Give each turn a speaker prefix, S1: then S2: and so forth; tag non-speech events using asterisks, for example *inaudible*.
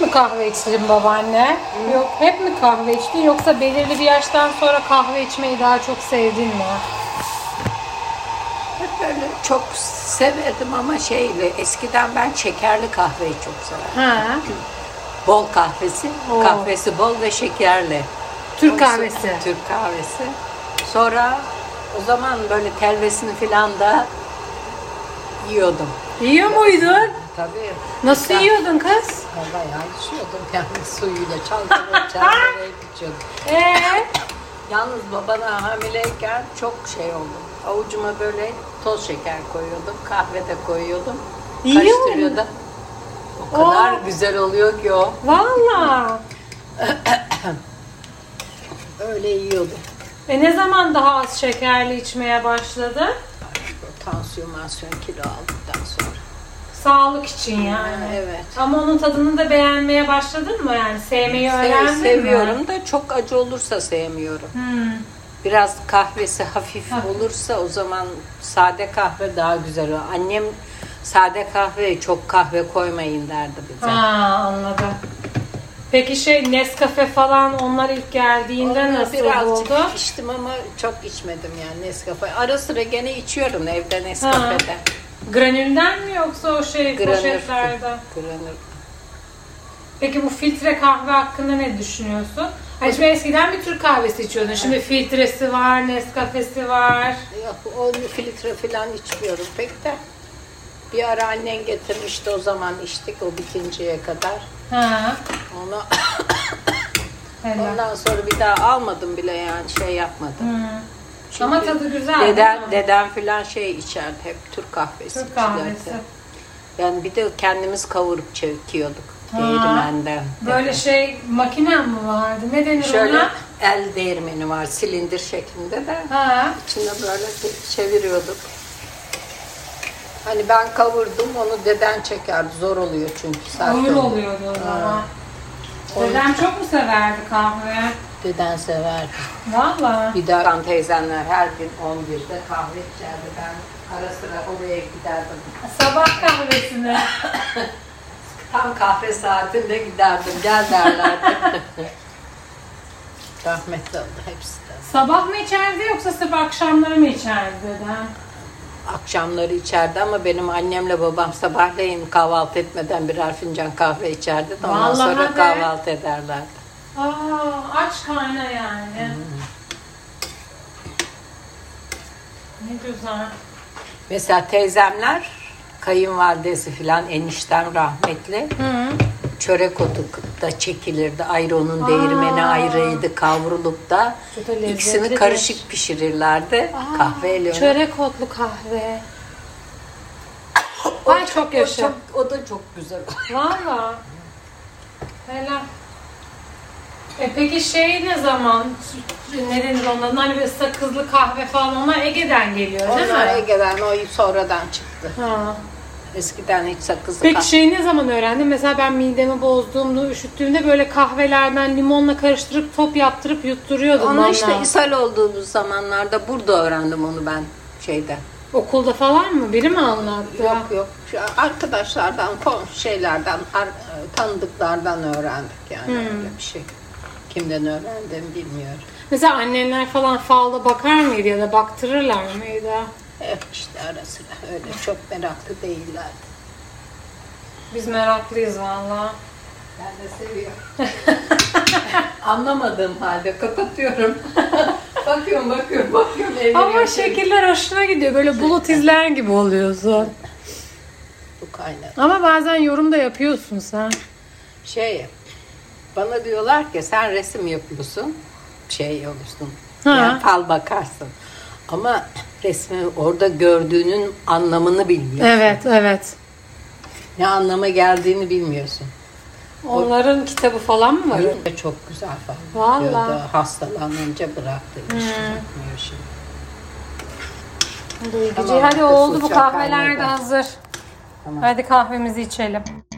S1: mi kahve içtin babaanne? Yok hep mi kahve içtin yoksa belirli bir yaştan sonra kahve içmeyi daha çok sevdin mi?
S2: Hep böyle çok severdim ama şeyle eskiden ben şekerli kahveyi çok severdim.
S1: Ha,
S2: Bol kahvesi,
S1: Oo.
S2: kahvesi bol ve şekerli.
S1: Türk
S2: Oysa-
S1: kahvesi.
S2: Türk kahvesi. Sonra o zaman böyle telvesini filan da yiyordum.
S1: Yiyor muydun?
S2: Tabii.
S1: Nasıl yiyordun kız?
S2: Bayağı içiyordum yani *laughs* suyuyla
S1: *laughs*
S2: çalkalayıp çalkalayıp içiyordum.
S1: Ee,
S2: Yalnız babana hamileyken çok şey oldum. Avucuma böyle toz şeker koyuyordum, kahve de koyuyordum.
S1: İyi oldu.
S2: Karıştırıyordum. O kadar
S1: Oo.
S2: güzel oluyor ki o.
S1: valla.
S2: Öyle yiyordum.
S1: E ne zaman daha az şekerli içmeye başladı?
S2: O Tansiyon, mansiyon kilo aldıktan sonra.
S1: Sağlık için yani.
S2: Ha, evet.
S1: Ama onun tadını da beğenmeye başladın mı? Yani sevmeyi
S2: Sev-
S1: öğrendin
S2: seviyorum
S1: mi?
S2: da çok acı olursa sevmiyorum.
S1: Hmm.
S2: Biraz kahvesi hafif
S1: Hafif.
S2: olursa o zaman sade kahve daha güzel olur. Annem sade kahveye çok kahve koymayın derdi bize.
S1: Ha anladım. Peki şey Nescafe falan onlar ilk geldiğinde
S2: Ondan
S1: nasıl
S2: birazcık
S1: oldu?
S2: içtim ama çok içmedim yani Nescafe. Ara sıra gene içiyorum evde Nescafe'de.
S1: Granülden mi yoksa o şey
S2: Granür.
S1: poşetlerden?
S2: Granür.
S1: Peki bu filtre kahve hakkında ne düşünüyorsun? Hani şimdi eskiden bir Türk kahvesi içiyordun. Şimdi filtresi var, Nescafe'si var.
S2: Yok o filtre falan içmiyorum pek de. Bir ara annen getirmişti o zaman içtik o bitinceye kadar.
S1: Ha.
S2: Onu
S1: Helal.
S2: ondan sonra bir daha almadım bile yani şey yapmadım.
S1: Hmm.
S2: Çünkü
S1: Ama tadı güzel. değil mi?
S2: Deden, deden filan şey içerdi hep Türk kahvesi.
S1: Türk
S2: içerdi.
S1: kahvesi.
S2: Yani bir de kendimiz kavurup çekiyorduk
S1: Ha.
S2: değirmenden.
S1: Böyle şey makinen mi vardı? Ne denir
S2: Şöyle
S1: ona?
S2: el değirmeni var silindir şeklinde de
S1: Ha.
S2: içinde böyle bir çeviriyorduk. Hani ben kavurdum onu deden çekerdi. Zor oluyor çünkü sert.
S1: Hamur
S2: oluyor.
S1: oluyordu o zaman. Dedem çok mu severdi kahve?
S2: Deden severdi.
S1: Valla.
S2: Bir de kan teyzenler her gün 11'de kahve içerdi. Ben ara sıra oraya giderdim.
S1: Sabah
S2: *laughs*
S1: kahvesini.
S2: Tam kahve saatinde giderdim. Gel derlerdi. Rahmetli oldu hepsi de.
S1: Sabah mı içerdi yoksa sırf akşamları mı içerdi dedem?
S2: Akşamları içerdi ama benim annemle babam sabahleyin kahvaltı etmeden birer fincan kahve içerdi. de Ondan
S1: Vallahi
S2: sonra
S1: be.
S2: kahvaltı ederlerdi.
S1: Aa, aç karnına yani. Ne güzel.
S2: Mesela teyzemler, kayınvalidesi filan eniştem rahmetli. Çörek otu da çekilirdi. Ayrı onun değirmeni ayrıydı kavrulup da.
S1: Bu da
S2: ikisini
S1: lezzetlidir.
S2: karışık pişirirlerdi. Kahveyle. onu-
S1: Çörek otlu kahve. Ay çok
S2: o, çok,
S1: yaşa.
S2: o da çok güzel.
S1: Valla. Helal. E peki şey ne zaman? Ne denir onların? Hani böyle sakızlı kahve falan onlar Ege'den geliyor değil
S2: Onlar
S1: mi?
S2: Ege'den o sonradan çıktı.
S1: Ha.
S2: Eskiden hiç sakızlı
S1: Peki
S2: kahve-
S1: şeyi ne zaman öğrendin? Mesela ben midemi bozduğumda, üşüttüğümde böyle kahvelerden limonla karıştırıp top yaptırıp yutturuyordum
S2: Onu
S1: bana.
S2: işte ishal olduğumuz zamanlarda burada öğrendim onu ben şeyde.
S1: Okulda falan mı? Biri mi anlattı?
S2: Yok yok Şu arkadaşlardan, komşu şeylerden, ar- e, tanıdıklardan öğrendik yani öyle bir şey. Kimden öğrendim bilmiyorum.
S1: Mesela annenler falan falda bakar mıydı ya da baktırırlar mıydı?
S2: Hep işte ara sıra öyle çok meraklı değillerdi.
S1: Biz meraklıyız valla.
S2: Ben de seviyorum. *laughs* Anlamadığım halde kapatıyorum. *laughs* bakıyorum bakıyorum bakıyorum.
S1: Ama
S2: eğleniyorum.
S1: şekiller hoşuna gidiyor. Böyle bulut izler gibi oluyorsun.
S2: Bu kaynağı.
S1: Ama bazen yorum da yapıyorsun sen.
S2: şey bana diyorlar ki sen resim yapıyorsun şey olursun
S1: Ha.
S2: yani fal bakarsın ama resmi orada gördüğünün anlamını bilmiyorsun.
S1: Evet, evet.
S2: Ne anlama geldiğini bilmiyorsun.
S1: Onların kitabı falan mı var?
S2: Yürü de çok güzel fal.
S1: Vallahi.
S2: diyordu. Hastalanınca bıraktı. iş yapmıyor şimdi.
S1: Duygucu.
S2: Tamam,
S1: Hadi oldu bu
S2: kusacak
S1: kahveler de
S2: anladım.
S1: hazır.
S2: Tamam.
S1: Hadi kahvemizi içelim.